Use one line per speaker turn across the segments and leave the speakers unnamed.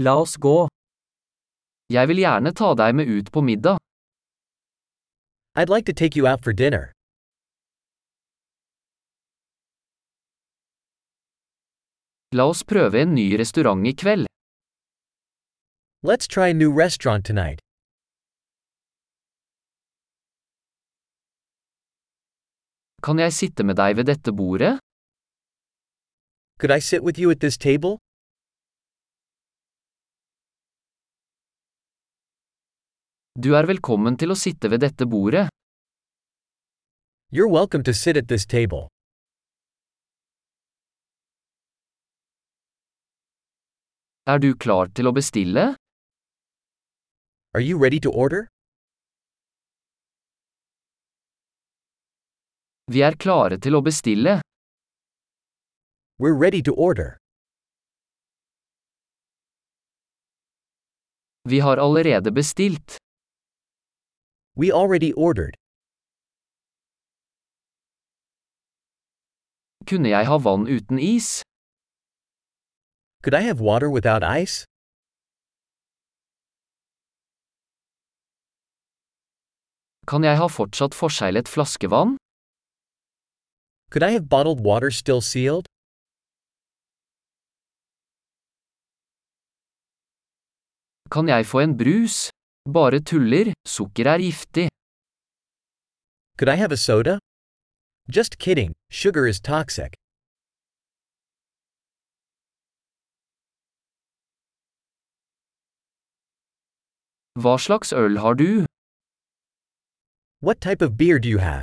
La oss gå. Jeg vil gjerne ta deg med ut på middag.
I'd like to take you out for dinner.
La oss prøve en ny restaurant i kveld.
Let's try a new restaurant tonight.
Kan jeg sitte med deg ved dette bordet?
Could I sit with you at this table?
Du er velkommen til å sitte ved dette bordet.
You're welcome to sit at this table.
Er du klar til å bestille?
Are you ready to order?
Vi er klare til å bestille.
We're ready to order.
Vi har allerede bestilt.
We already ordered.
Kunne jeg ha vann uten is?
Could I have water without ice?
Kan jeg ha fortsatt forseglet flaskevann?
Could I have bottled water still sealed?
Kan jeg få en brus? Bare tuller, sukker er giftig.
Could I have a soda? Just kidding, sugar is toxic.
Hva slags øl har du?
What type of beer do you have?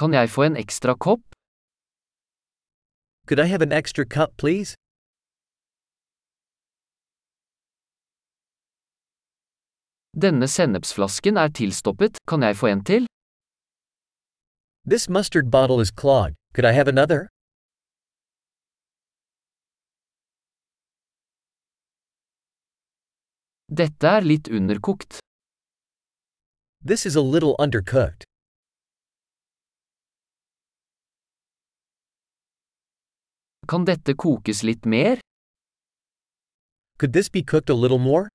Kan jeg få en ekstra kopp?
Could I have an extra cup, please?
Denne sennepsflasken er tilstoppet, kan jeg få en til?
This mustard bottle is clogged. Could I have another?
Dette er litt underkokt.
This is a little undercooked.
Kan dette kokes litt mer?
Could this be cooked a little more?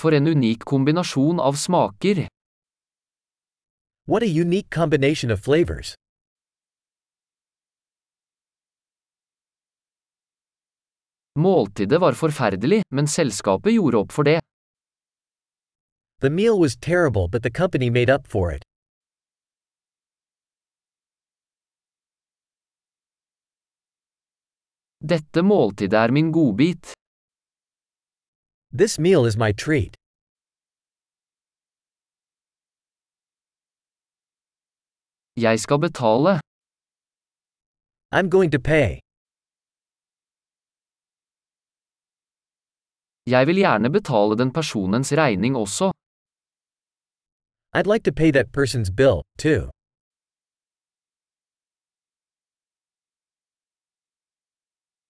For en unik kombinasjon av smaker.
What a unique combination of flavors.
Måltidet var forferdelig, men selskapet gjorde opp for det.
The meal was terrible, but the company made up for it.
Dette måltidet er min godbit.
This meal is my treat.
Jeg skal betale.
I'm going to pay.
Jeg vil gjerne betale den personens regning også.
I'd like to pay that person's bill, too.